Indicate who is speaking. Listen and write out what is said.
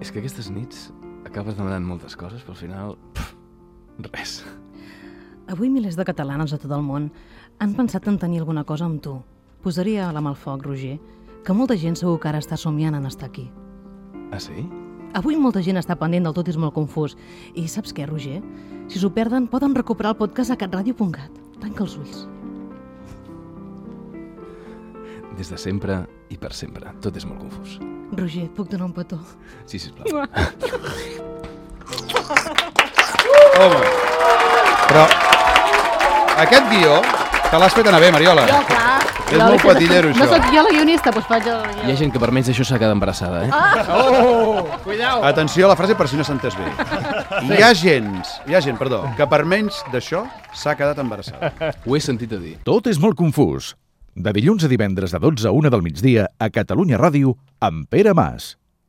Speaker 1: És que aquestes nits acabes demanant moltes coses, però al final... Pff, res.
Speaker 2: Avui milers de catalanes a tot el món han pensat en tenir alguna cosa amb tu. Posaria la mà al foc, Roger, que molta gent segur que ara està somiant en estar aquí.
Speaker 1: Ah, sí?
Speaker 2: Avui molta gent està pendent del tot i és molt confús. I saps què, Roger? Si s'ho perden, poden recuperar el podcast a catradio.cat. Tanca els ulls.
Speaker 1: Des de sempre i per sempre. Tot és molt confús.
Speaker 2: Roger, puc donar un petó?
Speaker 1: Sí, sisplau.
Speaker 3: Però aquest guió te l'has fet anar bé, Mariola.
Speaker 4: Jo, clar.
Speaker 3: És molt patillero,
Speaker 4: No
Speaker 3: això.
Speaker 4: sóc jo la guionista, doncs faig el
Speaker 1: Hi ha
Speaker 4: guió.
Speaker 1: gent que per menys d'això s'ha quedat embarassada, eh? Ah!
Speaker 3: Atenció a la frase per si no s'entès bé. Hi ha gens, hi ha gent, perdó, que per menys d'això s'ha quedat embarassada.
Speaker 1: Ho he sentit a dir.
Speaker 5: Tot és molt confús. De dilluns a divendres de 12 a 1 del migdia a Catalunya Ràdio amb Pere Mas.